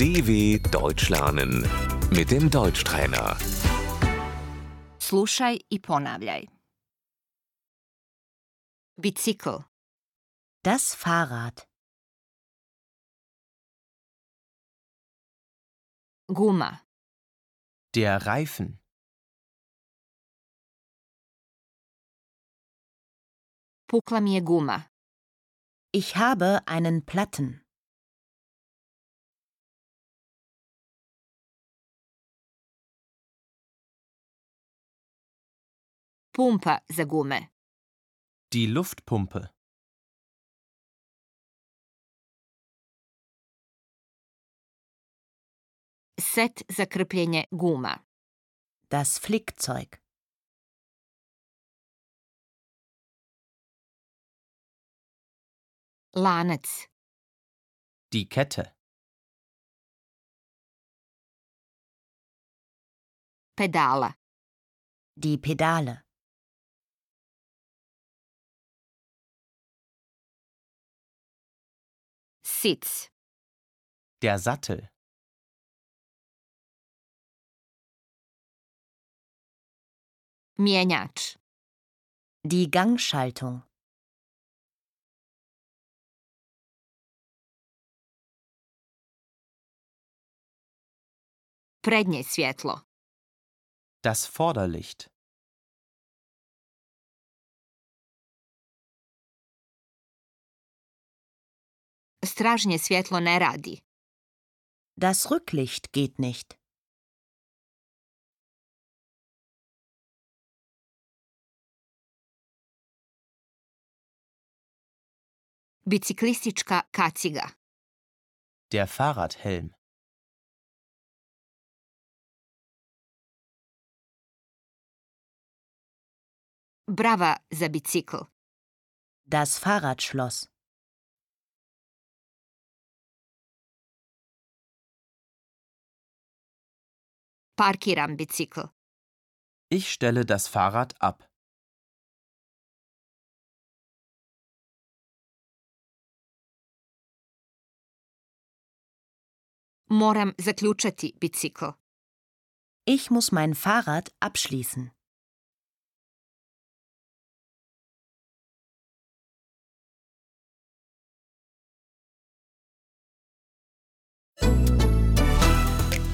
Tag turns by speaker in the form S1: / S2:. S1: DW Deutsch lernen mit dem Deutschtrainer.
S2: Slušaj i ponavljaj. Bicikl,
S3: Das Fahrrad,
S2: guma,
S4: Der Reifen.
S2: pukla mi je guma,
S3: ich habe einen Platten,
S2: pumpa za gume,
S4: Die Luftpumpe.
S2: set za krpljenje guma,
S3: das Flickzeug,
S2: lanac,
S4: Die Kette.
S2: pedala,
S3: die Pedale,
S2: sic,
S4: Der Sattel.
S2: mjenjač,
S3: die Gangschaltung,
S2: prednje svjetlo,
S4: Das Vorderlicht.
S2: stražnje svjetlo ne radi,
S3: das Rücklicht geht nicht,
S2: biciklistička kaciga,
S4: Der Fahrradhelm.
S2: brava za bicikl,
S3: das Fahrradschloss,
S2: parkiram bicikl,
S4: Ich stelle das Fahrrad ab.
S2: moram zaključati bicikl,
S3: ich muss mein Fahrrad abschließen.